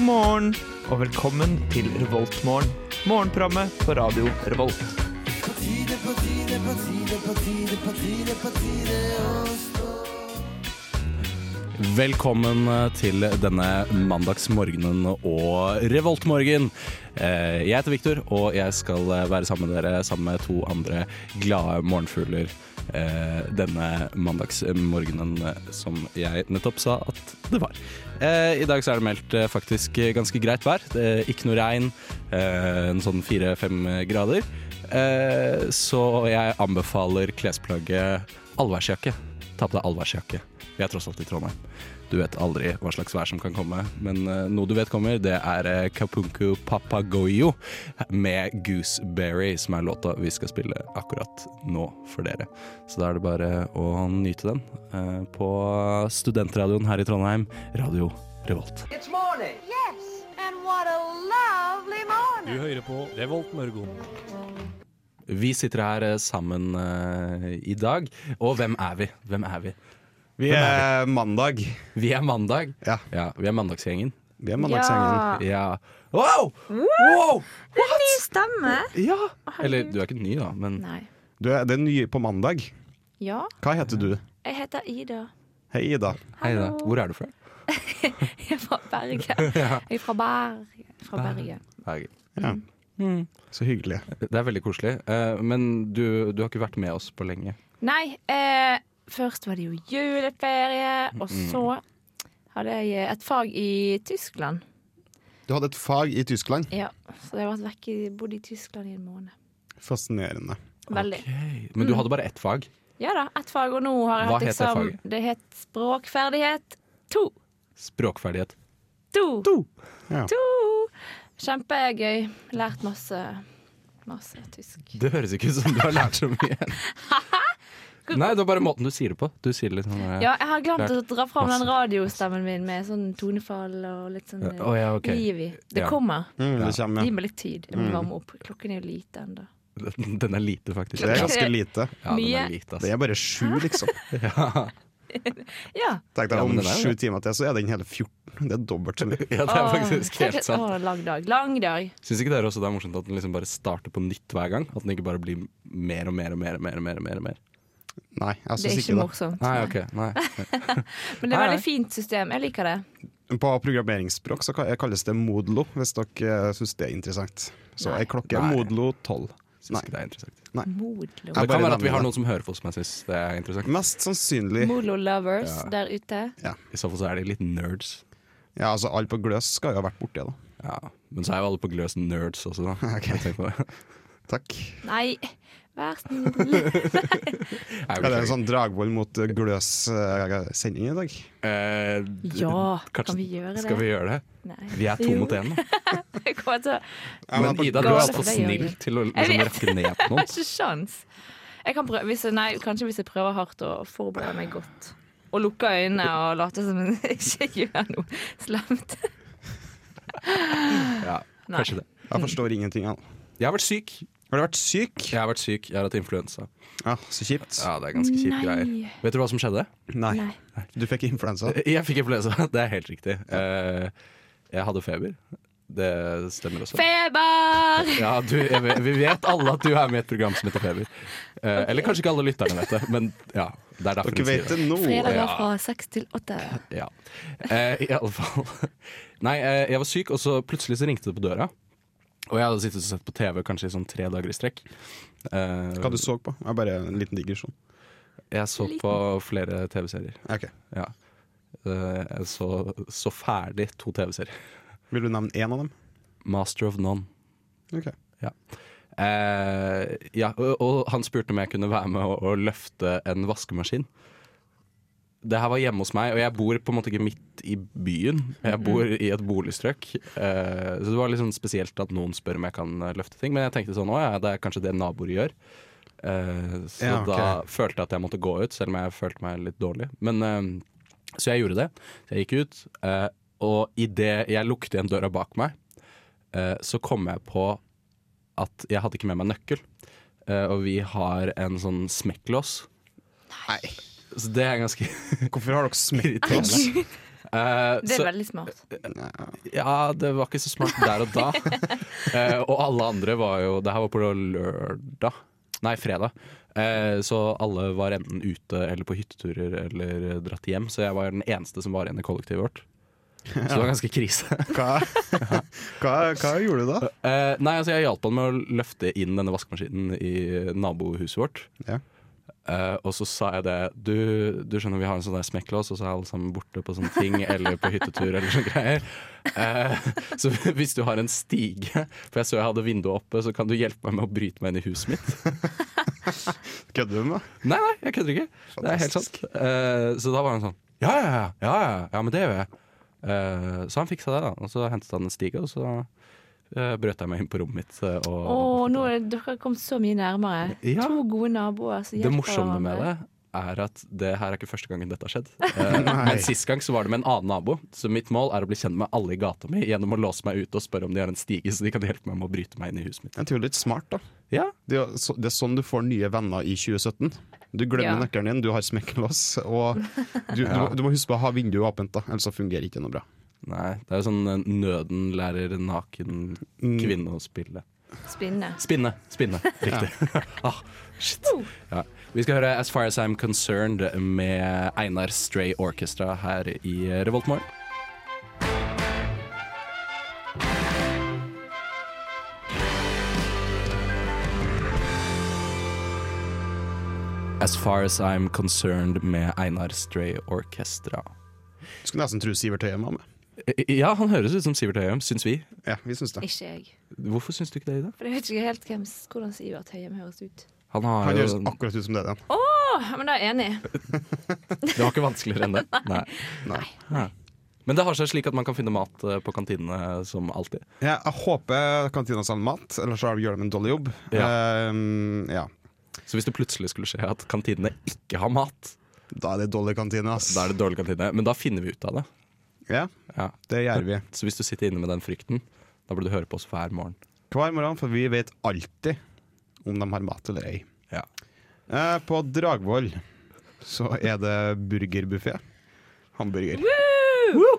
morgen og velkommen til Revoltmorgen. Morgenprogrammet på radio Revolt. Velkommen eh, til denne mandagsmorgenen og revoltmorgen. Eh, Jeg heter Viktor, og jeg skal eh, være sammen med dere sammen med to andre glade morgenfugler eh, denne mandagsmorgenen eh, som jeg nettopp sa at det var. Eh, I dag så er det meldt eh, faktisk ganske greit vær. Det er ikke noe regn. eh, En sånn fire-fem grader. Eh, Så jeg anbefaler klesplagget allværsjakke. Ta på deg allværsjakke. Vi er tross alt i Trondheim. Du vet aldri hva slags vær som kan komme, men eh, noe du vet kommer, det er eh, Kapunku Papagoyo med Gooseberry, som er låta vi skal spille akkurat nå for dere. Så da er det bare å nyte den eh, på studentradioen her i Trondheim, Radio Revolt. Yes, and what a lovely morning. Vi sitter her eh, sammen eh, i dag, og hvem er vi? Hvem er vi? Vi er mandag. Vi er mandag. Ja. vi er mandagsgjengen. Vi er mandagsgjengen. Ja. Wow! wow! Ny stemme. Ja! Eller du er ikke ny, da, men Nei. Du er, det er ny på mandag. Ja, Hva heter du? jeg heter Ida. Hei, Ida. hei da. Hallo. Hvor er du fra? Jeg er fra Bergen. Jeg er fra Bergen. Fra Bergen. Nei, Ja. Så hyggelig. Det er veldig koselig. Eh, Men du, du har ikke vært med oss på lenge. Nei, eh, først var det jo juleferie, og Mm. så hadde jeg eh, et fag i Tyskland. Du hadde et fag i Tyskland. Ja, så jeg har vært vekk, i- bodd i Tyskland i en måned. Fascinerende. Veldig. Ok. Men du hadde bare ett fag. Ja da, ett fag, og nå har jeg Hva hatt heter eksamen. faget? Det het språkferdighet 2. Språkferdighet. To. To. Ja. Kjempegøy. Lært masse, masse tysk. Det høres ikke ut som du har lært så mye. Nei, det er bare måten du sier det på. Du sier det litt sånn eh, Ja, jeg har glemt å Lært dra fram den masse. radiostemmen min med sånn tonefall og litt sånn Å, ja, ok. liv i. Det Ja. Mm. kommer. Mm, det kommer. Gi meg litt tid. Jeg må varme opp. Klokken er jo lite ennå. Den er lite, faktisk. Det er ganske lite. Ja, den mye. er lite, Det altså. er bare sju, liksom. Ja. Tenk deg Ja, men om det er jo sju det. timer til, så er den hele 14. Det er dobbelt så mye. Ja, det er faktisk helt sant. Å, lang dag. Lang dag. Syns ikke dere også det er morsomt at den liksom bare starter på nytt hver gang? At den ikke bare blir mer og mer og mer og mer og mer? og mer, og mer. Nei, jeg Det er syns ikke ikke det. morsomt. Nei, ok. Nei. Men det er Nei, et nei. veldig fint system. Jeg liker det. På programmeringsspråk så ka- kalles det modlo, hvis dere syns det er interessant. Så ei klokke er Nei. modlo tolv. Syns ikke det er interessant. Modlo. Jeg Det Mm. kan bare være at vi nevner har det. noen som hører på som jeg syns det er interessant. Mest sannsynlig Molo lovers der ute. I så fall så er de litt nerds. Ja, altså Alle på gløs skal jo ha vært borti det. da. Ja, Men så er jo alle på gløs nerds også, da. Ok. Jeg tenker på det. Takk. Nei, vær snill. Jeg Er det beklager. en sånn dragvoll mot eh, gløs-sending i dag? Eh, d- Ja, kanskje- kan vi gjøre det? Skal vi gjøre det? Nei. Vi er to Jo. mot én. da. Jeg kommer til å men Men på Ida, du er gløs- altfor Det gjør snill vi. til å Jeg liksom vet. rakke ned på Jeg noen. har ikke sjans. Jeg kan prøve, hvis, nei, kanskje hvis jeg prøver hardt å forberede meg godt. Og lukke øynene og late som jeg ikke gjør noe slemt. Ja, Nei. kanskje det. Jeg forstår ingenting. Ja. Jeg har vært syk. Har du vært syk? Jeg har vært syk, jeg har hatt influensa. Ja, Så kjipt. Ja, det er ganske kjipe Nei. greier. Vet du hva som skjedde? Nei. Nei. Du fikk influensa. Jeg fikk influensa, det er helt riktig. Eh, jeg hadde feber. Det stemmer også. Feber! Ja, du, jeg, vet- vi vet alle at du er med i et program som heter Feber. Eh, Eller kanskje ikke alle lytterne vet det, men ja, det er derfor Dere hun sier vet det. det nå. Fredager Ja. fra seks til åtte. Ja. Eh, I alle fall. Nei, eh, jeg var syk, og så plutselig så ringte det på døra. Og jeg hadde sittet og sett på TV kanskje i sånn tre dager i strekk. Eh, Hva du så på? Jeg bare en liten digresjon. jeg så på flere TV-serier. Ok. Ja. Eh, jeg så, så ferdig to TV-serier. Vil du nevne én av dem? Master of None. Ok. Ja. Eh, ja, og, og han spurte om jeg kunne være med og, og løfte en vaskemaskin. Det her var hjemme hos meg, og jeg bor på en måte ikke midt i byen. Jeg bor i et boligstrøk. Eh, så det var litt sånn spesielt at noen spør om jeg kan eh, løfte ting. Men jeg tenkte sånn, å ja, det er kanskje det naboer gjør. Eh, så Ja, ok. da følte jeg at jeg måtte gå ut, selv om jeg følte meg litt dårlig. Men, eh, så jeg gjorde det. Så jeg gikk ut, eh, og idet jeg lukket igjen døra bak meg, eh, så kom jeg på at jeg hadde ikke med meg nøkkel. Eh, og vi har en sånn smekklås. Nei. Så det er ganske Hvorfor har dere smekklås? irriterende. Eh, Det så- er veldig smart. Ja, det var ikke så smart der og da. Eh, og alle andre var jo Det her var på lørdag. Nei, fredag. Eh, så alle var enten ute eller på hytteturer eller dratt hjem. Så jeg var den eneste som var igjen i kollektivet vårt. Så det var ganske krise. Hva, hva, hva gjorde du da? Eh, nei, altså Jeg hjalp han med å løfte inn denne vaskemaskinen i nabohuset vårt. Ja. Eh, og så sa jeg det Du, du skjønner vi har en sånn der smekklås, og så er alle sammen borte på sånne ting eller på hyttetur eller sånne greier. Eh, så hvis du har en stige, for jeg så jeg hadde vinduet oppe, så kan du hjelpe meg med å bryte meg inn i huset mitt. Kødder du med meg? Nei, nei, jeg kødder ikke. Det er helt sant. Eh, så da var han sånn Ja, ja, ja, ja, ja, ja men det gjør jeg. Eh, så han fiksa det, da. Og så hentet han en stige, og så eh, brøt jeg meg inn på rommet mitt. eh, Og, Å, nå er dere kommet så mye nærmere. Ja. To gode naboer som Det hjelper morsomme med hverandre. det er at det her er ikke første gangen dette har skjedd. Eh, men sist gang så var det med en annen nabo, så mitt mål er å bli kjent med alle i gata mi gjennom å låse meg ute og spørre om de har en stige, så de kan hjelpe meg med å bryte meg inn i huset mitt. Jeg tror det er litt smart, da. Ja, Det er, jo så- det er sånn du får nye venner i 2017. Du glemmer Ja. nøkkelen din, du har smekkelås, og du, du, må- du må huske på å ha vinduet åpent, da, ellers så fungerer ikke noe bra. Nei, det er jo sånn eh, nøden lærer naken kvinne å spille. Spinne. Spinne. Spinne. Riktig. ah, shit. Ja. Vi skal høre As Far As I'm Concerned med Einar Stray Orchestra her i Revoltmorgen. As Far As I'm Concerned med Einar Stray Orchestra. Skulle nesten tro Sivert Høyem var med. Ja, han høres ut som Sivert Høyem, syns vi. Ja, vi syns det. Ikke jeg. Hvorfor syns du ikke det, Ida? For jeg vet ikke helt hvem, hvordan Sivert Høyem høres ut. Han har Han sånn jo- høres akkurat ut som det igjen. Åh, men da er jeg enig. Det var ikke vanskeligere enn det. Nei. Nei. Ja. Men det har seg slik at man kan finne mat eh, på kantinene som alltid. Ja, jeg håper kantina selger mat, ellers så gjør de en dårlig jobb. Ehm, ja. Så hvis det plutselig skulle skje at kantinene ikke har mat, Da er det dårlig kantine, ass. da er det dårlig kantine. Men da finner vi ut av det. Ja, Ja. det gjør vi. Så hvis du sitter inne med den frykten, da burde du høre på oss hver morgen. Hver morgen, for vi vet alltid om de har mat eller ei. Ja. Eh, På Dragvoll så er det burgerbuffé. Hamburger.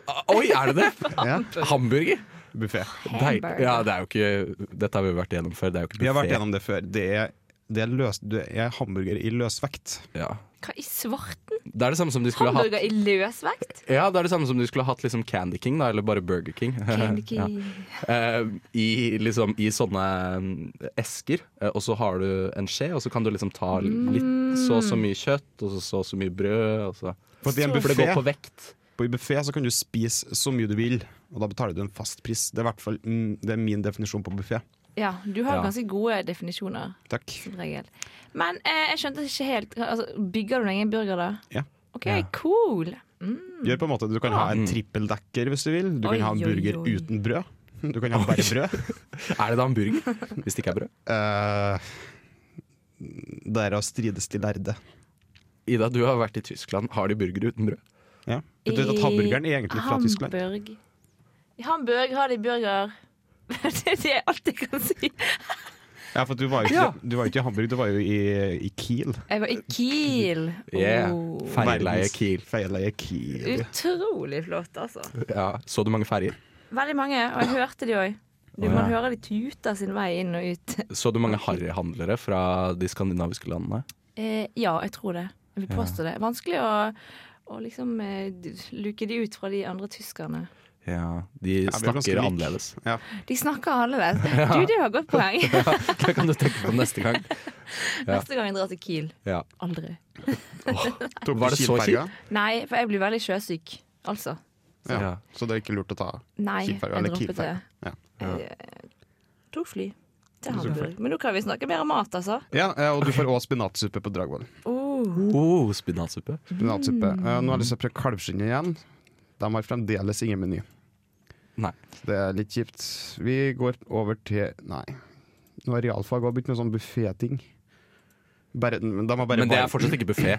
Ah, Oi, er det det? Ja, Hamburger? buffé. Deil- Hamburger. Ja, det er jo ikke Dette har vi vært gjennom før. Det er jo ikke Vi har vært buffet. gjennom det før. Det er, det er, løs, det er hamburger i løsvekt. Ja. Hva i svarten? Det er det samme som de skulle ha hatt Hamburger i løsvekt? Ja, det er det samme som de skulle ha hatt liksom Candy King, da, eller bare Burger King. Candy King. Eh, i, liksom, I sånne mm, esker, eh, og så har du en skje, og så kan du liksom ta litt så og så mye kjøtt, og så så og så mye brød. Og så. For, det er en For det går på buffé, vekt. på I buffé så kan du spise så mye du vil, og da betaler du en fast pris. Det er, i hvert fall, mm, det er min definisjon på buffé. Ja, du har Ja. ganske gode definisjoner. Takk. som regel. Men eh, jeg skjønte ikke helt altså, Bygger du deg egen burger, da? Ja. OK, cool. Gjør på en måte, du kan Mm. ha en trippeldekker hvis du vil. Du Oi, kan ha en oi, burger oi. uten brød. Du kan ha bare brød. Er det da en burger? Hvis det ikke er brød? Eh, det er å strides til lærde. Ida, du har vært i Tyskland. Har de burger uten brød? Ja. Vet du at hamburgeren er egentlig fra Tyskland? Hamburg. I Hamburg har de burger. det er alt jeg kan si. Ja, for du var jo ikke, Ja. du var jo ikke i Hamburg, du var jo i, i Kiel. Jeg var i Kiel. Yeah. Oh. Ferjeleie Verdens Kiel. Feileie Kiel. Utrolig flott, altså. Ja. Så du mange ferjer? Veldig mange, og jeg hørte de òg. Du, Å, ja. Man hører de tuter sin vei inn og ut. Så du mange harryhandlere fra de skandinaviske landene? Eh, ja, jeg tror det. Jeg vil påstå det. Vanskelig å, å liksom eh, d- luke de ut fra de andre tyskerne. Ja, De vi er ganske snakker lik. annerledes. Ja. De snakker annerledes. Du, det var et godt poeng. Det kan du tenke på neste gang. Neste gang jeg drar til Kiel. Ja. Aldri. Tok du Var det så Kiel-ferga? Nei, for jeg blir veldig sjøsyk. Altså. Ja. Ja. Så det er ikke lurt å ta Nei, jeg Kiel-ferga eller droppet det. Kiel-ferga. Ja. Jeg eh, tok fly til Hamburg. Men nå kan vi snakke mer om mat, altså. Ja, eh, og du får òg spinatsuppe på Dragvoll. Oh. Oh, spinatsuppe. Spinatsuppe. Mm. Eh, Nå har jeg lyst til å prøve kalvskinnet igjen. De har fremdeles ingen meny. Nei. Det er litt kjipt. Vi går over til Nei. Nå har realfag også begynt med sånn bufféting. Bare, men de har bare Men det varm- er fortsatt ikke buffé.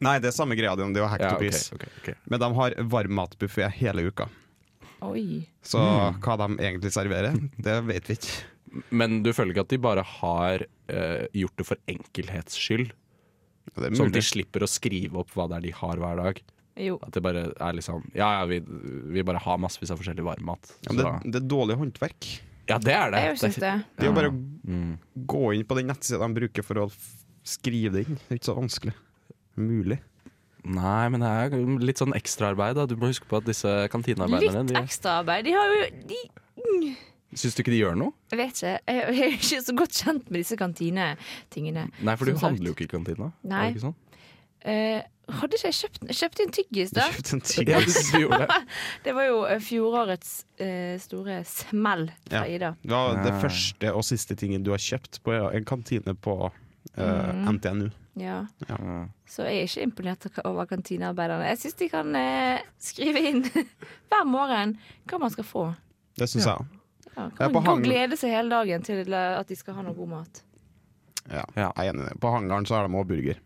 Nei, det er samme greia det om det å hacke til pris. Men de har varmmatbuffé hele uka. Oi. Så Mm. hva de egentlig serverer, det vet vi ikke. Men du føler ikke at de bare har eh, gjort det for enkelhets skyld? Det er Sånn at mulig. de slipper å skrive opp hva det er de har hver dag? Jo. At det bare er liksom Ja, ja, vi, vi bare har massevis av forskjellig varmmat. Ja, men det, det er dårlig håndverk. ja, det er det. Jeg syns det. Det er jo bare å Mm. gå inn på den nettsida de bruker for å f- skrive det inn. Det er ikke så vanskelig. Mulig. Nei, men det er litt sånn ekstraarbeid. da. Du må huske på at disse kantinearbeiderne Litt de, ekstraarbeid. De har jo de, Syns du ikke de gjør noe? Jeg vet ikke. Jeg jeg er ikke så godt kjent med disse kantinetingene. Nei, for du Som sagt. handler jo ikke i kantina. er det Nei. Ikke sånn? Eh, hadde ikke jeg kjøpt Jeg kjøpte en tyggis, da. Kjøpt en ja, tyggis. du, du gjorde det. Det var jo eh, fjorårets eh, store smell Ja. fra Ida. Det var det Ah. første og siste tingen du har kjøpt på en kantine på eh, NTNU. Ja. Ja. Så jeg er ikke imponert over kantinearbeiderne. Jeg syns de kan eh, skrive inn hver morgen hva man skal få. Det syns jeg òg. Ja, Ja, kan på man gå og hang- glede seg hele dagen til at de skal ha noe god mat. Ja, Ja. jeg er enig i det. På hangaren så er de òg burger.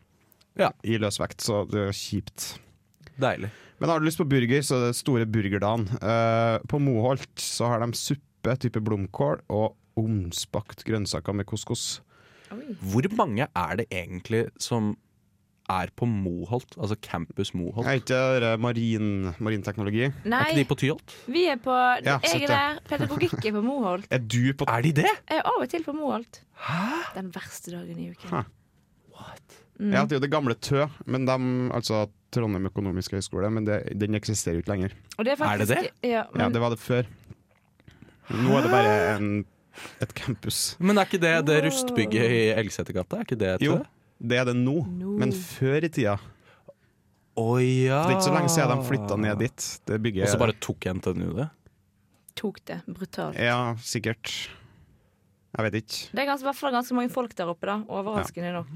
Ja. I løsvekt, så det er kjipt. Deilig. Men har du lyst på burger, så er det store burgerdagen. Eh, på Moholt så har de suppe, type blomkål, og omspakt grønnsaker med couscous. Oi. Hvor mange er det egentlig som er på Moholt? Altså Campus Moholt? Er ikke det der marin, marinteknologi? Er ikke Nei, de på Tyholt? vi er på Ja, Jeg sett er der. Pedagogikk er på Moholt. Er du på Er de det? Jeg er av og til på Moholt. Den verste dagen i uken. Ja, det er jo det gamle Tø, men dem, altså Trondheim økonomiske høgskole, men det, den eksisterer jo ikke lenger. Og Er det er, det faktisk, Ja, Ja, men Det var det før. Nå er det bare en, et campus. Men er ikke det det rustbygget i Elgsetergata? Er ikke det et Jo, sted? det er det nå, Nå. men før i tida. Å ja. Det er ikke så lenge siden de flytta ned dit. Det bygget Ah. Og så bare tok NTNU det? tok det brutalt. Ja, sikkert. Jeg vet ikke. Det er ganske, i hvert fall ganske mange folk der oppe, da. Overraskende nok.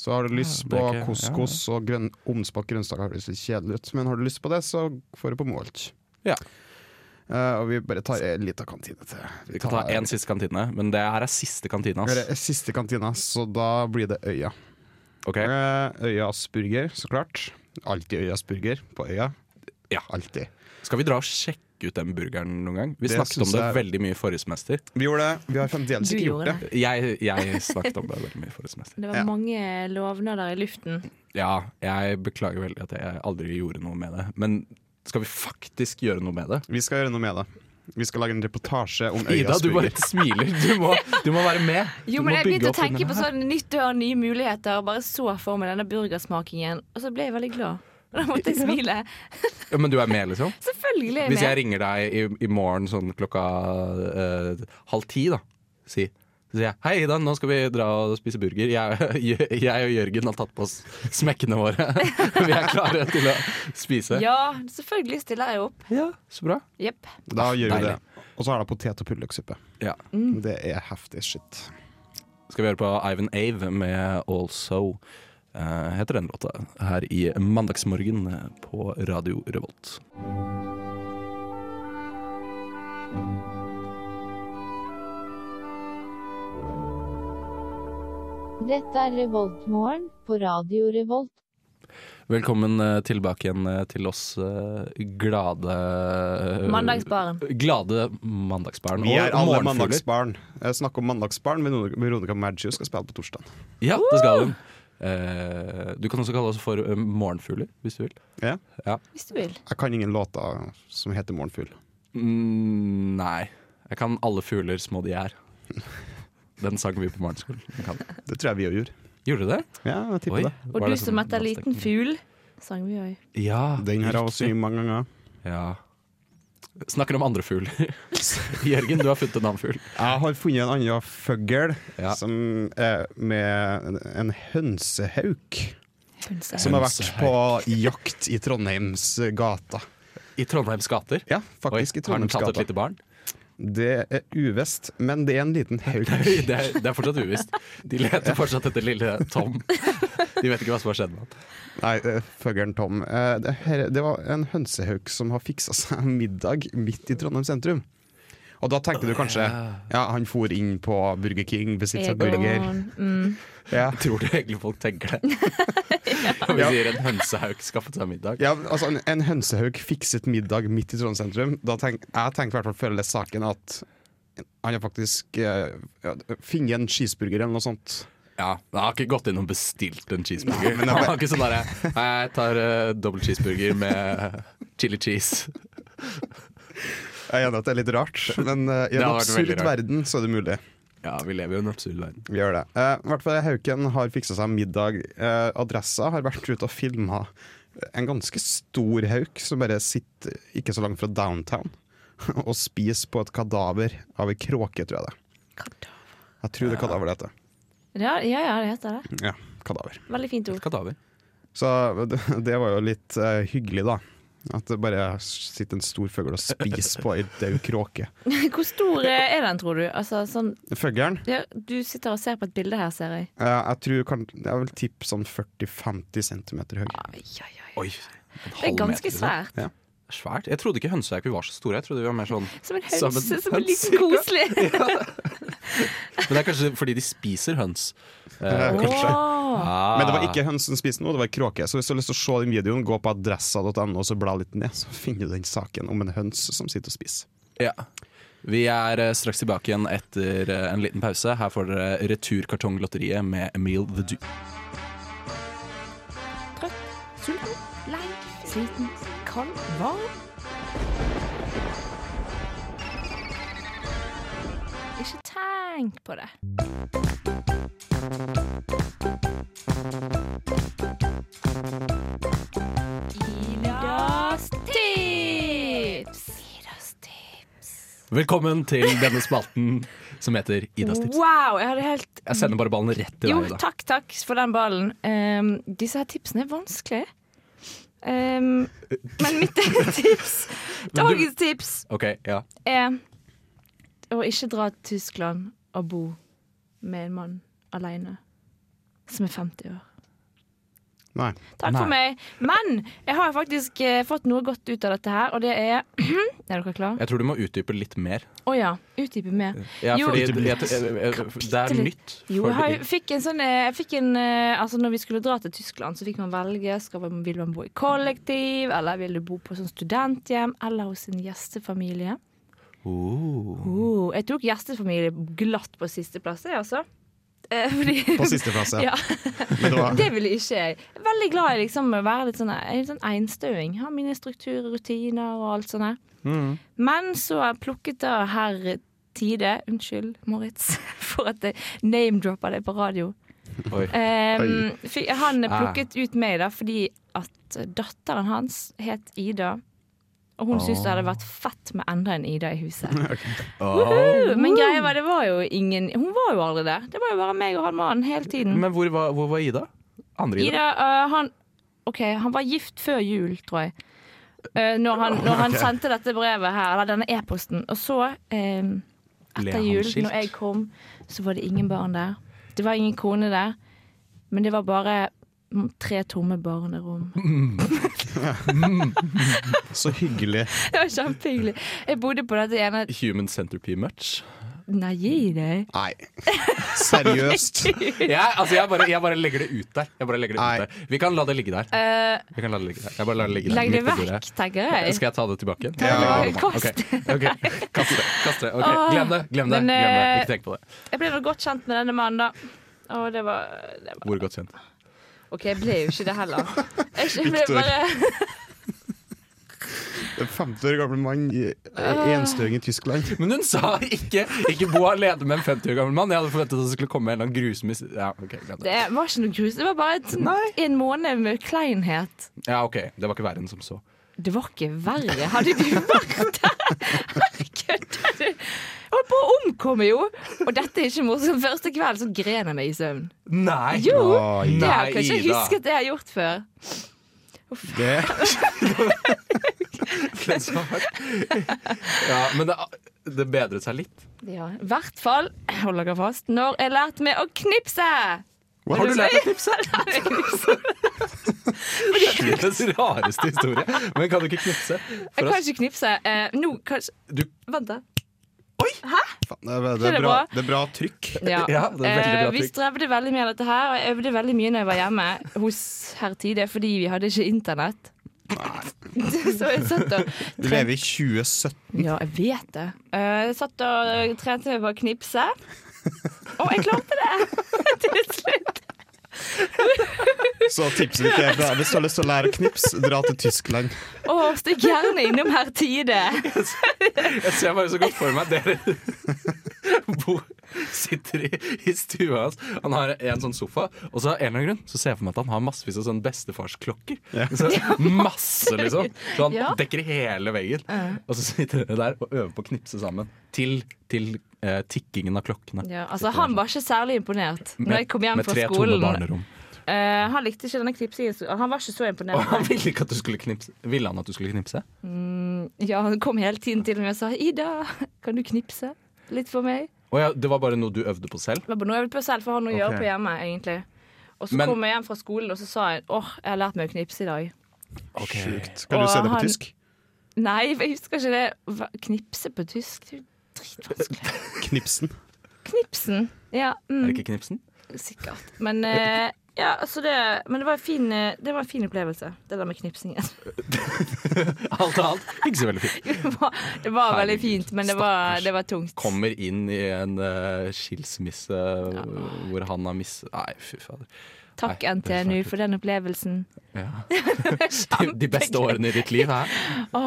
Så har du lyst det er på ikke- couscous og grønn, omspakt grønnsaker, høres litt kjedelig ut, men har du lyst på det, så får du på Moholt. Ja. Eh, og vi bare tar en liten kantine til. Vi kan ta én siste kantine, men det her er siste kantina. Det ass. er eh, siste kantina, så da blir det Øya. Ok, Eh, Øyas burger, så klart. Alltid Øyas burger på Øya. Ja. Alltid. Skal vi dra og sjekke ut den burgeren noen gang? Vi Det snakket om synes det jeg er- veldig mye forrige semester. Vi gjorde det. Vi har fremdeles Du ikke gjorde gjort det. det. Jeg, jeg snakket om det veldig mye forrige semester. Det var Ja. mange lovnader i luften. Ja, jeg beklager veldig at jeg aldri gjorde noe med det. Men skal vi faktisk gjøre noe med det? Vi skal gjøre noe med det. Vi skal lage en reportasje om Ida, Øyas du bare burger. smiler. Du må, du må være med. Jo, du men må bygge jeg begynte å opp under tenke på det her. sånn nytt år, nye muligheter. og Bare så for meg denne burgersmakingen, og så ble jeg veldig glad. Og Da måtte jeg smile. Ja, Men du er med, liksom? Selvfølgelig er Hvis jeg jeg ringer med. deg i, i morgen sånn klokka eh, halv ti, da, si, så sier jeg Hei, Ida, nå skal vi dra og spise burger. Jeg, jeg og Jørgen har tatt på oss smekkene våre. vi er klare til å spise. Ja, selvfølgelig stiller jeg opp. Ja, så bra. Jepp. Da gjør vi Deilig. det. Og så har de potet- og puddelykksuppe. Ja. Mm. Det er heftig shit. Skal vi høre på Ivan Ave med Also, eh, heter den låta, her i Mandagsmorgen eh, på Radio Revolt. Dette er Revoltmorgen på Radio Revolt. Velkommen eh, tilbake igjen eh, til oss eh, glade Øh, Mandagsbaren. Glade mandagsbarn. Vi og er alle morgenfugler. mandagsbarn. Eh, Snakk om mandagsbarn. Veronica- Veronica Maggio skal spille på torsdag. Ja, det skal hun. Eh, du kan også kalle oss for eh, morgenfugler, hvis du vil. Ja. Hvis du vil. Jeg kan ingen låter som heter 'Morgenfugl'. Mm, nei. Jeg kan alle fugler små de er. Den sang vi på morgenskolen. Jeg Kan. Det tror jeg vi òg gjorde. Gjorde du det? Ja, jeg tipper det. Og du som etter liten fugl, sang vi òg. Ja, Den har jeg også riktig. sunget mange ganger. Ja. Snakker om andre fugl. Jørgen, du har funnet en annen fugl. Jeg har funnet en annen fugl Ja. som er med en- en hønsehauk. Som har vært Hønsehauk. på jakt i Trondheims gata. I Trondheims gater. Ja, faktisk i Oi, har den Trondheims tatt et gata. lite barn? Det er uvisst, men det er en liten hauk. Det er, det er fortsatt uvisst. De leter fortsatt etter lille Tom. De vet ikke hva som har skjedd med han. Nei, eh, fuglen Tom. Eh, Det, her, det var en hønsehauk som har fiksa seg middag midt i Trondheim sentrum. Og da tenkte du kanskje Ah. ja, han for inn på Burger King, bestilte seg burger. Egon. Mm. Ja. Tror du egentlig folk tenker det? Når vi sier en hønsehauk skaffet seg middag. Ja, men altså En, en hønsehauk fikset middag midt i Trondheim sentrum. Da tenk, jeg tenkte i hvert fall før jeg leste saken at han har faktisk eh, ja, funnet en cheeseburger eller noe sånt. Ja, Han har ikke gått inn og bestilt en cheeseburger. men det er han bare- har ikke sånn derre Nei, jeg tar uh, dobbel cheeseburger med chili cheese. Jeg er enig at det er litt rart, men eh, i Det en hadde vært veldig absurd rart. verden så er det mulig. Ja, vi lever jo i en absurd verden. Vi gjør det. Eh, I hvert fall Hauken har fiksa seg middag. Eh, adressa har vært ute og filma en ganske stor hauk som bare sitter ikke så langt fra downtown og spiser på et kadaver av ei kråke, tror jeg det. Jeg tror det er kadaver det heter. Ja, ja, ja, det heter det. Ja, kadaver. Veldig fint ord. Kadaver. Så det, det var jo litt eh, hyggelig, da. At det bare sitter en stor fugl og spiser på ei død kråke. Hvor stor eh, er den, tror du? Altså, sånn, Fuglen ja, du sitter og ser på et bilde her, ser jeg. eh, jeg tror kan, jeg vil tippe sånn 40-50 cm høy. Ai, ai, ai. Oi. en Det er halv meter, ganske liksom. svært. Svært. Jeg trodde ikke hønsehauk var så store. Jeg trodde vi var mer sånn Som en Som høns. en Som en høns, liten koselig. Men det er kanskje fordi de spiser høns. Eh, Kanskje. Åh. ah. Men det var ikke høns som spiste noe, det var kråke. Så hvis du har lyst til å se den videoen, gå på adressa.no og så bla litt ned, så finner du den saken om en høns som sitter og spiser. Ja. Vi er eh, straks tilbake igjen etter eh, en liten pause. Her får dere Returkartonglotteriet med Emil the Duke. Sulten, lei, sliten, kald, varm. Ikke tenk på det. Idas tips! Idas tips. Velkommen til denne spalten som heter Idas tips. Wow, jeg hadde helt Jeg sender bare ballen rett til Jo, deg. da takk, takk for den ballen. Ehm, disse her tipsene er vanskelig. Ehm, men mitt tips, dagens tips, Ok, ja er å ikke dra til Tyskland og bo med en mann alene som er 50 år. Nei. Takk for meg. Men jeg har faktisk eh, fått noe godt ut av dette her, og det er Er dere klare? Jeg tror du må utdype litt mer. Å ja. Utdype mer. Ja, Jo, fordi jeg, jeg, jeg, jeg, eh, det er Bitte litt. nytt. Jo, for- jeg har- fikk en sånn eh, jeg fikk en, eh, altså Når vi skulle dra til Tyskland, så fikk man velge. Skal man, vil man bo i kollektiv, eller vil du bo på sånn studenthjem, eller hos en gjestefamilie? Oh. Oh, jeg tok gjestefamilie glatt på sisteplass, jeg, altså. Eh, fordi, På siste plass, ja. Ja. Men det var, det ville ikke jeg. Jeg er Veldig glad i liksom å være litt sånn, jeg er litt sånn einstøing. Ha mine strukturer, rutiner og alt sånt. her. Mm. Men så plukket da herr Tide, unnskyld Moritz, for at jeg name-dropper deg på radio. Oi. Um, fi- han Ah. plukket ut meg da fordi at datteren hans het Ida. Og hun syntes det hadde vært fett med enda en Ida i huset. Uh, Men greia var, det var jo ingen Hun var jo aldri der. Det var jo bare meg og han mannen hele tiden. Men hvor var, hvor var Ida? Andre Ida? Ida, uh, han OK, han var gift før jul, tror jeg. Uh, når han, når han sendte dette brevet her, eller denne e-posten. Og så, um, Ble etter han jul, skilt? når jeg kom, så var det ingen barn der. Det var ingen kone der. Men det var bare mm, tre tomme barnerom. så hyggelig. Det var kjempehyggelig. Jeg bodde på dette ene Human centipede match. Nei, gi deg. Nei. Seriøst. Jeg, altså jeg, bare, jeg bare legger det ut der. Jeg bare legger det Nei. ut der. Vi kan la det ligge der. Uh, Vi kan la det ligge der. Jeg bare lar det ligge der. legg det midt på bordet. vekk, tenker jeg. Skal jeg ta det tilbake? Ja. det tilbake. Kast Ok, ok. Kast det. Kast det. Ok, Åh. Glem det. Glem det. Glem Men, det. eh, Ikke tenk på det. Jeg ble nå godt kjent med denne mannen, da. Og det var, det var Hvor godt kjent. OK, jeg ble jo ikke det heller. Jeg jeg ble bare, En 50 år gammel mann, i- enstøing i Tyskland. Men hun sa ikke 'ikke bo alene med en 50 år gammel mann'. Jeg hadde forventet at det skulle komme en eller annen grusom his- Ja, ok, glem det det. var ikke noe grus. Det var bare et, en måned med kleinhet. Ja, ok, Det var ikke verre enn som så. Det var ikke verre. Hadde du vært der? Kødder du? Jeg holdt på å omkomme, jo! Og dette er ikke morsomt. Første kveld så gren jeg meg i søvn. Nei! Jo! Oi. det har Nei, jeg kanskje Ida. ikke husket det jeg har gjort før. Det, Det som har vært- ja, men det, det bedret seg litt. Ja, I hvert fall, hold dere fast, når jeg lærte meg å knipse! Har du lært deg å knipse? Jeg Verdens rareste historie. Men kan du ikke knipse? For kan oss? ikke knipse. Eh, nå, kanskje Du, Vent, da. faen, det, er- det, Det er er bra, bra. det er bra trykk. Ja. Ja, det er veldig bra Eh, vi trykk. strevde veldig med dette her, og jeg øvde veldig mye når jeg var hjemme hos herr Tide, fordi vi hadde ikke internett. Så jeg satt og Vi lever i 2017. Ja, jeg vet det. Eh, Jeg satt og trente meg på å knipse. Å, jeg klarte det! Til slutt. Så tipset mitt er da, hvis du har lyst til å lære knips, dra til Tyskland. Å, stikk gjerne innom her tide. Jeg ser bare så godt for meg dere bo, sitter i, i stua hans. Han har en sånn sofa, og så av en eller annen grunn så ser jeg for meg at han har massevis av sånn bestefarsklokker. Så, masse, liksom. Så han Ja. dekker hele veggen. Og så sitter dere der og øver på å knipse sammen til, til eh, tikkingen av klokkene. Ja, altså, han var ikke særlig imponert Med- Når jeg kom hjem med fra tre tomme skolen. barnerom. Eh, han likte ikke denne knipsingen. så- Han var ikke så Og imponert. han ville ikke at du skulle knipse. Ville han at du skulle knipse? Ja, han kom hele tiden til meg og sa 'Ida, kan du knipse litt for meg?' Å ja, det var bare noe du øvde på selv? Det var bare noe jeg ville på selv, for jeg har noe å gjøre på hjemme, egentlig. Og så Men- kom jeg hjem fra skolen, og så sa jeg 'Åh, jeg har lært meg å knipse i dag'. Sjukt. Kan du Og se det på han- tysk? Nei, jeg husker ikke det. Hva- Knipse på tysk? Det er jo dritvanskelig. Knipsen. Knipsen. Ja, mm, Er det ikke knipsen? sikkert. Men eh, ja, altså det, men det var en fin, eh, det var en fin opplevelse, det der med knipsingen. Alt annet gikk så veldig fint. Det var, det var veldig Herregud, fint, men det var, stakkars. det var tungt. kommer inn i en eh, skilsmisse hvor han har mis... Nei, fy fader. Takk Nei, det er NTNU svært. for den opplevelsen. De, de beste årene i ditt liv her. Å,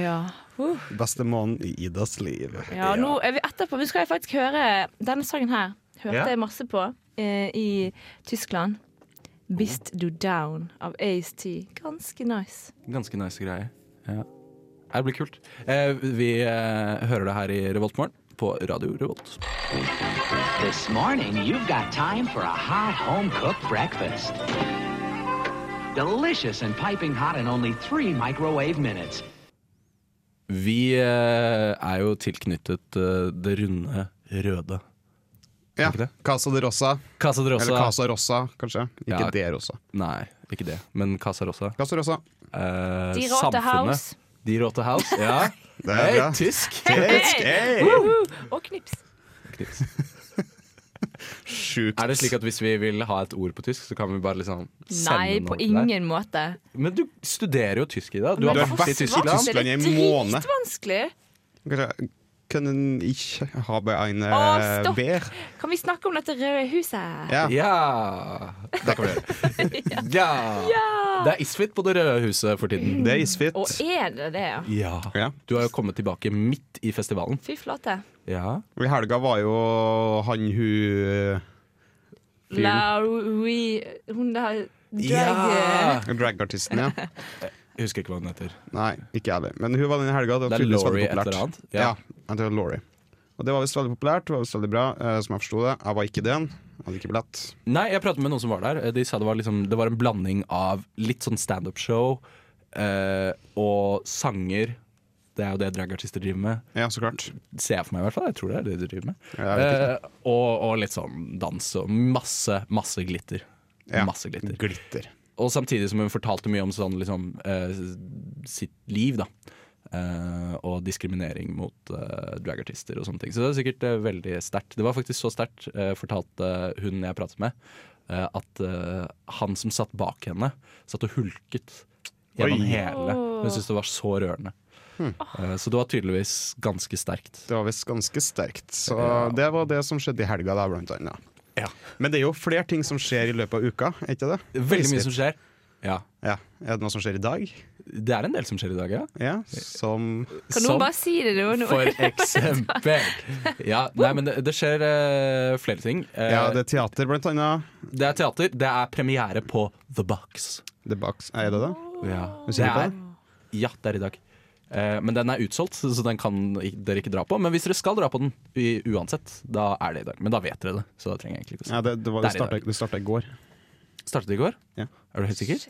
ja. Uh. Beste måneden i Idas liv. ja nå er vi etterpå. Vi skal jo faktisk høre denne sangen her. Hørte Ja. jeg masse på eh, i Tyskland. Bist du down av AST. Ganske nice. Ganske nice greie. Ja. Det blir kult. Eh, vi eh, hører det her i Revoltmorgen på Radio Revolt. This morning, you've got time for a hot home cooked breakfast. Delicious and piping hot in only three microwave minutes. Vi eh, er jo tilknyttet eh, det runde røde. Ja. Ikke det? Casa de Rosa. Casa de Rosa. Eller Casa Rosa, kanskje. Ikke Ja. det Rosa. Nei, ikke det, men Casa Rosa. Casa Rosa. Eh, De Rote samfunnet. House. De Rote House, ja. Det Hei, bra. tysk! Woohoo! Og knips. Sjukt. Er det slik at hvis vi vil ha et ord på tysk, så kan vi bare liksom sende Nei, noe på til deg? ingen måte. Men du studerer jo tysk i dag. Du Men har Du har vært i forsvant. Tyskland. Tyskland i en Det er måned. dritvanskelig. Kanskje Können ich habe eine Å, stopp. Beer? Kan vi snakke om dette røde eh, huset? Ja. Ja Det kan vi gjøre. Ja. Det er isfit på Det røde huset for tiden. Det er isfit. Og er det det? ja? Ja. Ja. Du har jo kommet tilbake midt i festivalen. Fy flate. Ja. Og I helga var jo han hun eh, Fyren. Lauri Hun der Ja. drag... dragartisten, ja. Jeg husker ikke hva hun heter. Nei, ikke jeg heller. Men hun var den i helga. Det var Det er tydeligvis Laurie veldig et populært. eller annet. Ja. Ja. jeg tror det var Laurie. Og det var visst veldig populært, det var visst veldig bra, eh, som jeg forsto det. Jeg var ikke den. Jeg hadde ikke billett. Nei, jeg pratet med noen som var der. De sa det var, liksom, det var en blanding av litt sånn standup-show eh, og sanger. Det er jo det dragartister driver med. Ja, så klart. ser jeg for meg i hvert fall. Jeg tror det er det de driver med. Ja, jeg vet Eh, og, og litt sånn dans og masse, masse glitter. Ja. Masse glitter. Glitter. Og samtidig som hun fortalte mye om sånn, liksom, eh, sitt liv, da. Eh, og diskriminering mot eh, dragartister og sånne ting. Så det er sikkert eh, veldig sterkt. Det var faktisk så sterkt, eh, fortalte hun jeg pratet med, eh, at eh, han som satt bak henne, satt og hulket gjennom Oi. Hm. hele. Hun syntes det var så rørende. Eh, så det var tydeligvis ganske sterkt. Det var visst ganske sterkt. Så det var det som skjedde i helga, da, blant annet. Ja. Men det er jo flere ting som skjer i løpet av uka, er ikke det? Veldig mye som skjer. Ja. Ja. Er det noe som skjer i dag? Det er en del som skjer i dag, ja. Ja, som Kan noen bare si det? nå? for eksempel. Ja, nei, men det, det skjer eh, flere ting. Eh, Ja, det det... er teater, blant annet. er teater. Det er premiere på The Box. The Box. Er det det? Ja. Du sikker på er, ja, det er i dag. Eh, men den er utsolgt, så så den kan i- dere ikke dra på. Men hvis dere skal dra på den i, uansett, da er det i dag. Men da vet dere det. Så da trenger jeg egentlig ikke å si Ja, det, det, var- Det er i det, dag. startet- det starta i går. Startet det i går? Ja. Er du helt sikker? det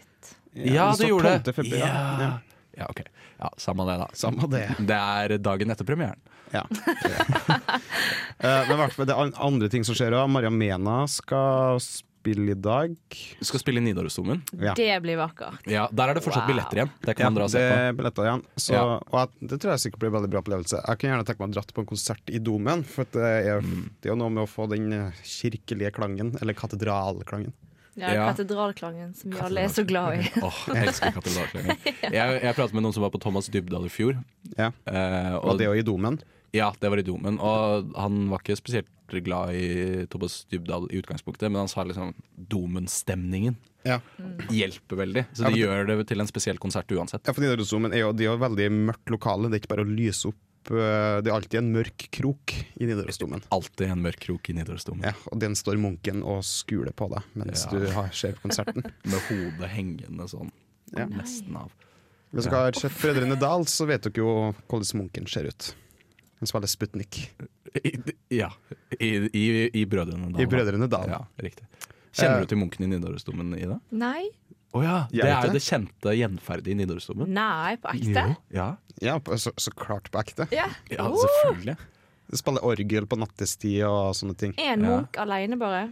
Ja, står det gjorde 12. det. februar, ja. Ja. ja, OK. Ja, Samme det, da. Samme det. Det er dagen etter premieren. Ja. Eh, Men i hvert fall, det er an- andre ting som skjer òg. Maria Mena skal spille i dag. Du skal spille i Nidarosdomen. Ja. Det blir vakkert. Ja, der er det fortsatt Wow. billetter igjen. Det kan Ja, man dra og det se på. er billetter igjen. Så, Ja. og jeg, det tror jeg sikkert blir en veldig bra opplevelse. Jeg kunne gjerne tenke meg å dratt på en konsert i Domen. For at det er, det er jo noe med å få den eh, kirkelige klangen, eller katedralklangen. Ja, Ja. Katedralklangen, som vi alle er så glad i. Åh, jeg elsker katedralklangen. Jeg, jeg pratet med noen som var på Thomas Dybdahl i fjor. Ja. eh, og Og det er jo i Domen. Ja, det var i domen. Og han var ikke spesielt glad i Tobias Dybdahl i utgangspunktet, men han sa liksom Domen-stemningen Ja. hjelper veldig. Så men de gjør det til en spesiell konsert uansett. Ja, for Nidarosdomen er jo de har veldig mørkt lokale. Det er ikke bare å lyse opp. eh, Det er alltid en mørk krok i Nidarosdomen. Alltid en mørk krok i Nidarosdomen. Ja, og den står munken og skuler på deg mens Ja. du har- ser på konserten. Med hodet hengende sånn Ja. nesten av. Hvis dere har sett Brødrene Dal, så vet dere jo hvordan munken ser ut. Han spiller Sputnik I, ja. I, i, i Brødrene Dal. i Brødrene Dal. Ja, riktig. Kjenner Eh. du til munken i Nidarosdomen, Ida? Nei. Å ja! Jeg Det vet er jo det. det kjente gjenferdet i Nidarosdomen. Nei, på ekte? Jo, Ja. Ja, på- så, så klart på ekte. Ja. ja, selvfølgelig. Spiller orgel på nattestid og sånne ting. En munk alene bare.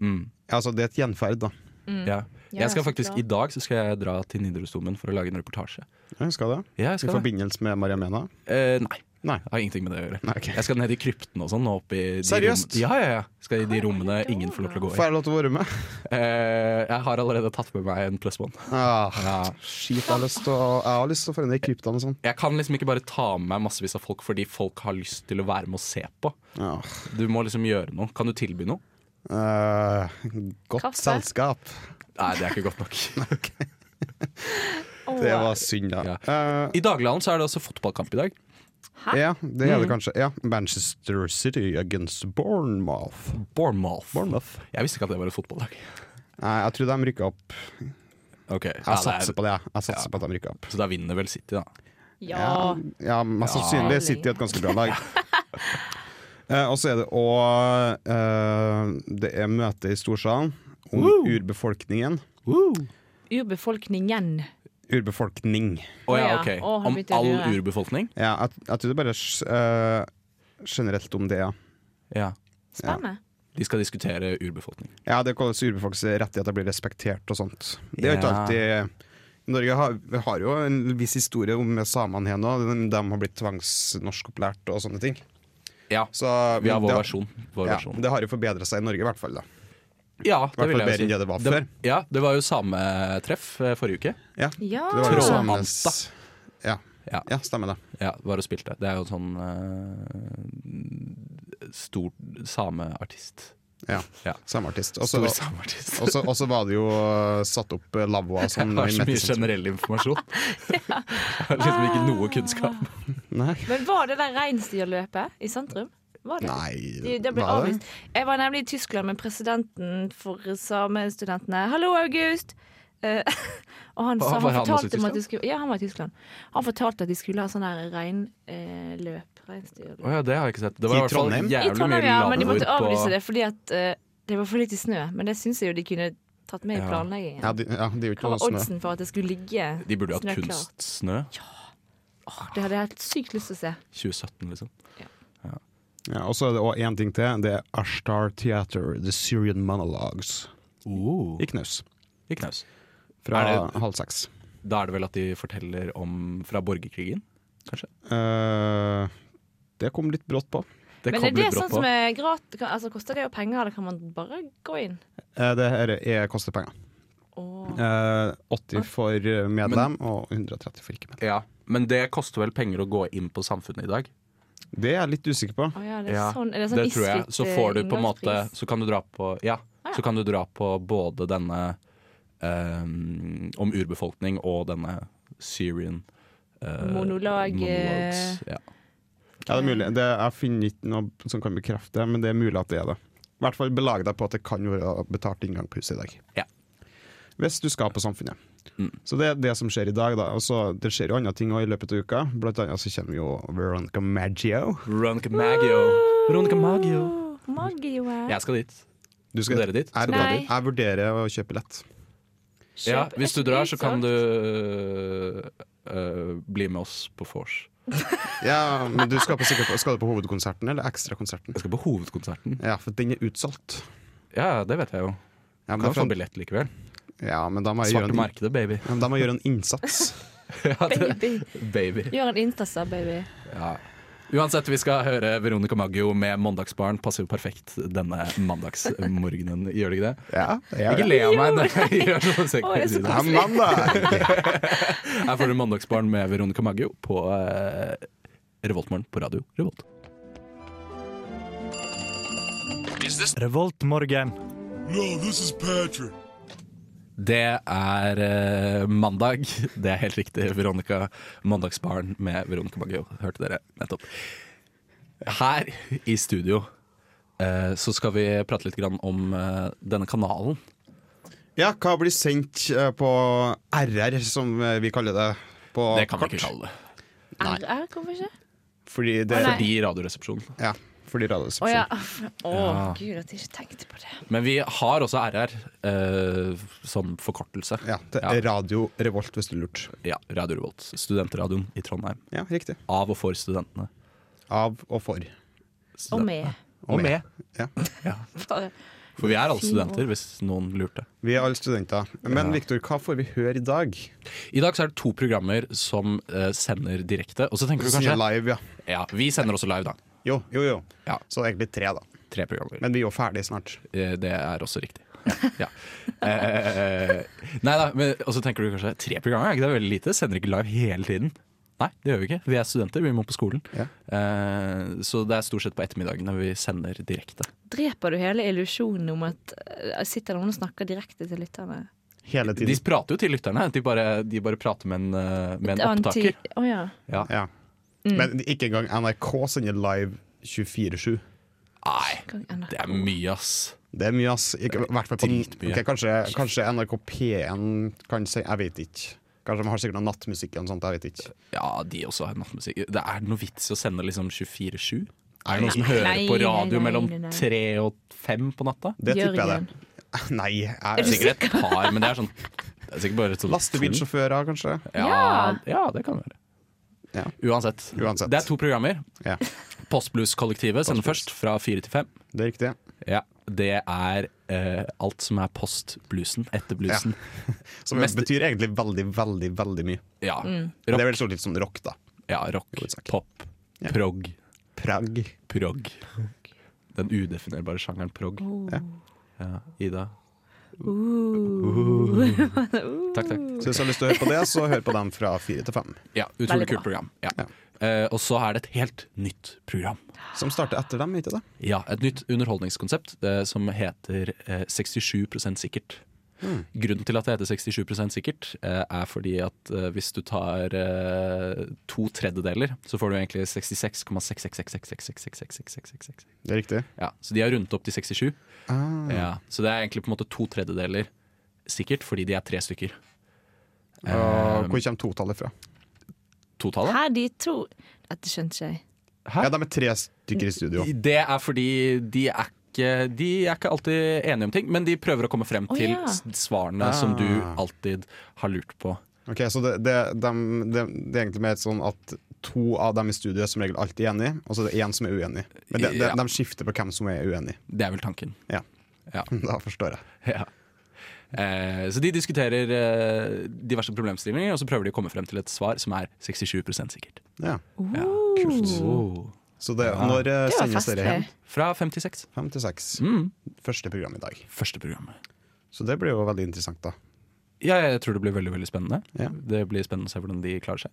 Mm. Ja, Altså, det er et gjenferd, da. Ja. Mm. Ja, Jeg skal så faktisk, bra. I dag så skal jeg dra til Nidarosdomen for å lage en reportasje. Ja, husker du det? Ja, jeg I skal det. forbindelse med Maria Mena? Eh, nei, Nei. det har ingenting med det å gjøre. Nei, ok. Jeg skal ned i kryptene og sånn. og opp i de Seriøst? rommene- Ja, ja, ja. Skal i de rommene ingen får lov til å gå Får i. jeg lov til å være med? Eh, jeg har allerede tatt med meg en pluss one. Ah, Skit, jeg har lyst til å Jeg har lyst til å forandre kryptaen og sånn. Jeg kan liksom ikke bare ta med meg massevis av folk fordi folk har lyst til å være med og se på. Ja. Du må liksom gjøre noe. Kan du tilby noe? Eh, godt Kaffe? selskap. Nei, det er ikke godt nok. Åh. Det var synd, da. Eh, I Dagligdalen så er det også fotballkamp i dag. ja, det er det kanskje. Ja. Manchester City against Bournemouth. Bournemouth. Jeg visste ikke at det var et fotballag. Nei, jeg tror de rykker opp. Ok, Jeg ja, det satser er, på det. jeg. Jeg satser på at de rykker opp. Så da vinner vel City, da. Ja. ja mest sannsynlig er City et ganske bra lag. Eh, og så er det òg Det er møte i Storsalen om urbefolkningen. Urbefolkningen. Urbefolkning. Å ja, Å ja. ok. Å, her Om begynte jeg å all lure. urbefolkning? Ja, jeg, jeg tror det bare eh, generelt om det, ja. Ja. Spennende. De skal diskutere urbefolkning. Ja, det er hvordan urbefolks rettigheter blir respektert og sånt. Det er jo ikke Ja. alltid Norge har, vi har jo en viss historie om samene her nå. De, de har blitt tvangsnorskopplært og sånne ting. Ja. Så Vi har vår det- versjon. Vår Ja, versjon. det har jo forbedra seg i Norge, i hvert fall. da Ja, det hvert vil fall jeg jo bedre si. enn det det var før. ja, det var jo sametreff eh, forrige uke. Ja, Ja. det var jo sånn- Trollhanta. samenes- ja. Ja. ja, stemmer det. Ja, var og spilte. Det er jo en sånn eh, stor sameartist. Ja. Ja. Sameartist. Og så Stor sameartist. og så- og så var det jo eh, satt opp eh, lavvoer Jeg som har så mye sentrum. generell informasjon. Jeg har liksom ikke noe kunnskap. Nei. Men var det der reinsdyrløpet i sentrum? Var det? De, Nei, det ble var det? avvist. Jeg var nemlig i Tyskland med presidenten for samestudentene. Hallo, August! Eh, og han, Hva, sa, var han han også i fortalte meg at de skulle, ja, han var i Tyskland. Han fortalte at de skulle ha sånn der reinløp. Reinsdyrløp. Å ja, det har jeg ikke sett. Det var i, I hvert fall Trondheim? I I jævlig mye Trondheim, ja, men de lavvoer måtte avlyse på det fordi at eh, det var for lite snø. Men det syns jeg jo de kunne tatt med i Ja. planleggingen. Ja, de, ja, det er jo ikke Hva noe var snø. oddsen for at det skulle ligge De burde hatt snøklart? kunstsnø. Det hadde jeg helt sykt lyst til å se. 2017, liksom. Ja, og så er det òg én ting til. Det er Ashtar Theater, The Syrian Monologues. Oh. I knaus. I knaus. Fra Er det- halv seks. Da er det vel at de forteller om fra borgerkrigen, kanskje? Eh, det kom litt brått på. Det Men kom er det litt brått sånn på. som er gratis? kan- Altså, koster det jo penger, eller kan man bare gå inn? Eh, det her er, koster penger. Åh. Eh, 80 for eh, medlem og 130 for ikke medlem. Ja, Men det koster vel penger å gå inn på samfunnet i dag? Det er jeg litt usikker på. Å ja, det er sånn, er det sånn det tror jeg. isfritt, Så eh, får du på en måte inngangspris? Så kan du dra på Ja, Ah, ja. så kan du dra på både denne eh, om urbefolkning og denne Syrian eh, Monolog, monologues. eh, Ja. Ja, det er mulig. Det, jeg finner ikke noe som kan bekrefte det, men det er mulig at det er det. I hvert fall belag deg på at det kan være betalt inngang på huset i dag. Ja. Hvis du skal på Samfunnet. Mm. Så det er det som skjer i dag. da. Og så Det skjer jo andre ting også i løpet av uka. Blant annet så kommer jo Veronica Maggio. Veronica Maggio. Veronica Maggio. Åh, Maggio er Jeg skal dit. Du Skal dere dit? Skal Jeg, dere vurderer- dit? jeg vurderer å kjøpe billett. Ja, Kjøp hvis et du drar, så kan du utsolgt. eh, eh, bli med oss på vors. Ja, men du skal, på, sikkert på, skal du på hovedkonserten eller ekstrakonserten? Jeg skal på hovedkonserten. Ja, for den er utsolgt. Ja, det vet jeg jo. Ja, men, Kan få da, en billett likevel. ja, men da må jeg gjøre Svarte en, markedet, baby. ja, men da må jeg gjøre en innsats. Ja, det, Baby. baby. Gjør en Insta-sub, baby. Ja. Uansett, vi skal høre Veronica Maggio med 'Mandagsbarn' passer jo perfekt denne mandagsmorgenen. Gjør det ikke det? Ja, Ikke le av meg! når jeg gjør sånn, så jeg Å, det er så sier det. Ja, mandag! Her får du 'Mandagsbarn' med Veronica Maggio på eh, Revoltmorgen på radio Revolt. Revoltmorgen. Det er eh, mandag. Det er helt riktig. Veronica Mandagsbarn med Veronica Maggio. Hørte dere nettopp. Her i studio eh, så skal vi prate litt grann om eh, denne kanalen. Ja, hva blir sendt eh, på RR, som eh, vi kaller det? På Det kan vi kart? ikke kalle det. RR, hvorfor ikke? Fordi det Å, nei. Fordi Radioresepsjonen. Ja, fordi Radioresepsjonen. Å ja. Å, gud, at jeg ikke tenkte på det. Men vi har også RR eh, som forkortelse. Ja, det Ja. er Radio Revolt, hvis du lurte. Ja, Radio Revolt. Studentradioen i Trondheim. Ja, riktig. Av og for studentene. Av og for. Og med. Og med. Ja. Bare- For vi er alle Fin studenter, hvis noen lurte. Vi er alle studenter. Men Viktor, hva får vi høre i dag? I dag så er det to programmer som eh, sender direkte. Og så tenker du Sånn kanskje live, ja. ja, Vi sender også live, da. Jo, jo, jo. Ja. Så det er egentlig tre, da. Tre programmer. Men vi er jo ferdig snart. Eh, det er også riktig. Ja. Eh, nei da, men, og så tenker du kanskje tre programmer, er ikke det veldig lite? Sender ikke live hele tiden? Nei, det gjør vi ikke. Vi er studenter, vi må på skolen. Ja. Eh, så det er stort sett på ettermiddagene vi sender direkte. Dreper du hele illusjonen om at eh, sitter noen og snakker direkte til lytterne? Hele De tiden. prater jo til lytterne, de bare, de bare prater med en, eh, med en opptaker. Anti- Å ja. Ja. Ja. Men ikke engang NRK sender live 24-7. Nei, Gang NRK. det er mye, ass. Det er mye, ass. Ikke, I hvert fall på Dritmye. Ok, kanskje, kanskje NRK P1 kan si Jeg vet ikke. Kanskje de har sikkert noe nattmusikk eller noe sånt. Jeg vet ikke. Ja, de også har nattmusikk. Det er noe vits i å sende liksom 24-7? Er det noen som Nei, hører nei, på radio nei, nei, mellom nei, nei. tre og fem på natta? Det tipper jeg Jørgen. det. Nei, Er jeg du Sikkert et par, men det er sånn det er sikkert bare sånn to. Lastebilsjåfører, kanskje. Ja, ja, det kan være. Ja. Uansett. Uansett. Det er to programmer. Ja, Postblues-kollektivet sender først fra fire til fem. det er riktig. Ja, det er eh, alt som er post-bluesen, etter bluesen. Som Mest- betyr egentlig veldig, veldig veldig mye. Ja. Mm. Men Det Rock, er vel stort litt som rock, da. ja, rock Hovedsak. pop, Ja. prog, Prag. prog. Den udefinerbare sjangeren prog. Ja. Ida. Takk, takk. Så hvis du har lyst til å høre på det, så hør på dem fra fire til fem. Ja, utrolig Veldig bra. kult program. Ja. Ja. Eh, og så er det et helt nytt program. Som starter etter dem, ikke det? Ja, Et nytt underholdningskonsept eh, som heter eh, 67 sikkert. Grunnen til at det heter 67 sikkert, eh, er fordi at eh, hvis du tar eh, to tredjedeler, så får du egentlig 66,6666666666. Det er riktig. Ja, så de har rundet opp til 67. Ah. Ja, så det er egentlig på en måte to tredjedeler sikkert, fordi de er tre stykker. Og hvor kommer totallet fra? Totallet? Her de to Dette skjønte ikke jeg. Hæ? Ja, de er tre stykker i studio. Det er fordi de er ikke de er ikke alltid enige om ting, men de prøver å komme frem Å, til ja. Ah. s- svarene som du alltid har lurt på. Ok, Så det, det, dem- det, det er egentlig mer sånn at to av dem i studio er som regel alltid enige, og så er det én som er uenig. Men de, de, Ja. de skifter på hvem som er uenig. Det er vel tanken. Ja. Ja. Da forstår jeg. Ja. Eh, så de diskuterer eh, diverse problemstillinger, og så prøver de å komme frem til et svar som er 67 sikkert. Ja. Ja, kult. Så det, når eh, Det var sendes dere festlig. hjem? Fra 56. Fem til seks. Mm. Første program i dag. Første programmet. Så det blir jo veldig interessant, da. Ja, jeg tror det blir veldig veldig spennende. Ja. Det blir spennende å se hvordan de klarer seg.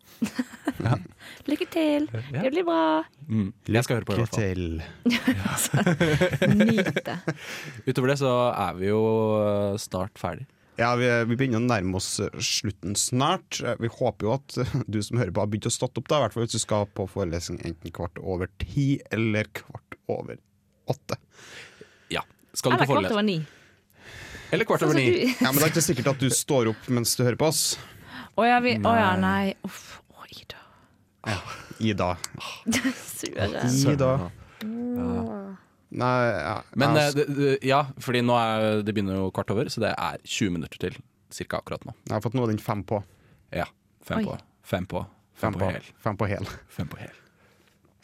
Lykke til. Ja. Det blir bra. Mm. Jeg skal høre på i hvert fall. Kritel. Nyt det. Utover det så er vi jo eh, snart ferdig. Ja, vi, vi begynner å nærme oss eh, slutten snart. Eh, Vi håper jo at eh, du som hører på har begynt å stått opp, da, i hvert fall hvis du skal på forelesning enten kvart over ti eller kvart over åtte. Ja. Skal du Eller på kvart forelesning? over ni. Eller kvart Sånn over som ni. du- Ja, Men det er ikke sikkert at du står opp mens du hører på oss, Å ja, vi, å ja, nei. Uff. Å, Ida. Ida. Sure. Ida. Nei, ja. Men ja, eh, det, det, ja, fordi nå er det begynner jo kvart over, så det er 20 minutter til cirka akkurat nå. jeg har fått noe av den fem på. Ja, fem Oi. på. Fem på. Fem, Fem på på, hel. fem på hel. Fem på hel.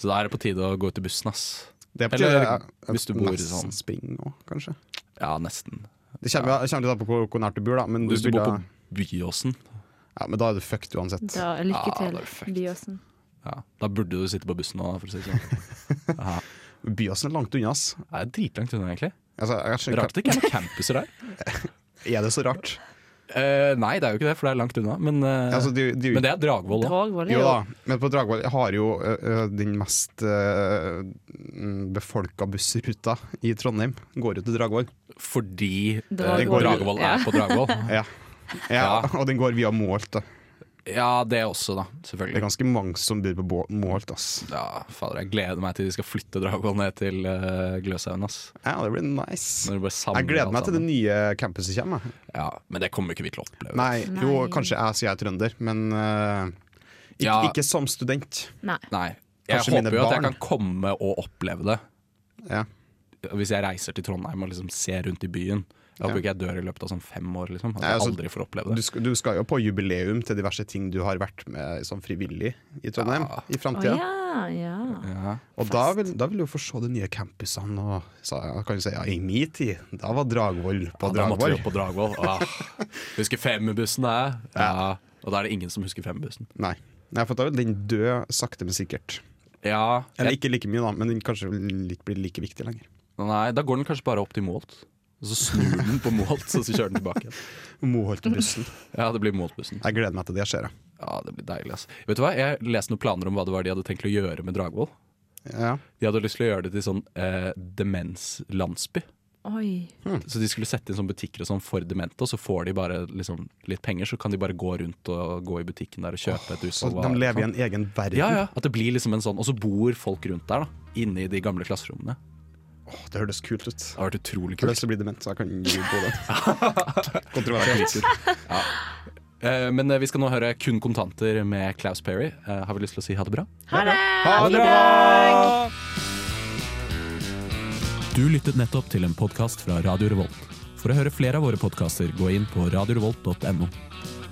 Så da er det på tide å gå ut i bussen, ass. Det er på Eller tide, eh, hvis du bor nesten sånn. Spring òg, kanskje. Ja, nesten. Det kommer, det kommer litt an på hvor, hvor nært du bor, da. Men, du Hvis du blir bor på da- Byåsen, ja, men da er du fucked uansett. Da, lykke Ah, til, det er fucked. Byåsen. ja, da burde du sitte på bussen nå, for å si det sånn. Byåsen er langt unna, ass. Det er dritlangt unna, egentlig. Altså, jeg skjønner, Rart det ikke er noen campuser der. Er det så rart? Eh, nei, det er jo ikke det, for det er langt unna. Men, eh, Altså, det, det, men det er Dragvoll òg. Dragvoll er jo jo da, men på Dragvoll har jo ø, ø, den mest ø, befolka bussruta i Trondheim. Går jo til Dragvoll. Fordi eh, Dragvoll. Dragvoll Ja. er på Dragvoll. Ja. Ja, Og den går via Målt. Da. Ja, det også, da. Det er Selvfølgelig. ganske mange som bor på Bå- Målt. Ass. Ja, fader, jeg gleder meg til de skal flytte Dragvoll ned til eh, Gløshaugen, ass. Ja, det blir nice. Når de bare samler Jeg gleder alt meg til det sammen. nye campuset kommer. jeg. Ja, men det kommer ikke vi til å oppleve. Nei, jo, Nei. kanskje jeg sier jeg er trønder, men ø, ikke, Ja. ikke som student. Nei. Nei. Jeg Kanskje mine håper jo at jeg barn. kan komme og oppleve det. Ja. Hvis jeg reiser til Trondheim og liksom ser rundt i byen. Jeg håper Ja. ikke jeg dør i løpet av sånn fem år. Liksom. At Nei, altså, jeg aldri får oppleve Du, det. skal, du skal jo på jubileum til diverse ting du har vært med som frivillig i Trondheim Ja. i Å framtida. ja, ja. Ja. Og da vil, da vil du få se de nye campusene. Og så, jeg kan jo si, ja, I min tid, da var Dragvoll på Ja, da måtte vi Dragvoll. opp på Dragvoll. Ah. Husker Femmerbussen, det. Ja. Og da er det ingen som husker Femmerbussen. Nei. Nei, for da vil den dø sakte, men sikkert. Ja, Eller ikke like mye, da, men den kanskje vil ikke bli like viktig lenger. Nei, da går den kanskje bare opp til Målt. Og så snur den på Målt, og så kjører den tilbake. igjen. Moholt-bussen. Ja, det blir Målt-bussen. Jeg gleder meg til det skjer. jeg. Ja, det blir deilig, ass. Vet du hva, jeg leste noen planer om hva det var de hadde tenkt å gjøre med Dragvoll. Ja. De hadde lyst til å gjøre det til sånn eh, demenslandsby. Oi. Mm. Så de skulle sette inn sånne butikker og sånn for demente, og så får de bare liksom, litt penger, så kan de bare gå rundt og gå i butikken der og kjøpe et Så utvalg. de lever i en egen verden. Ja, ja. At det blir liksom en sånn Og så bor folk rundt der, da. Inne i de gamle klasserommene. Åh, det høres kult ut. Det har vært utrolig For kult. det så blir dement, så jeg kan gi på det. Kontroversielt. Eh, men eh, vi skal nå høre Kun kontanter med Claus Perry. Eh, har vi lyst til å si ha det bra? Ha det! Ha det bra! Du lyttet nettopp til en podkast fra Radio Revolt. For å høre flere av våre podkaster, gå inn på radiorevolt.no.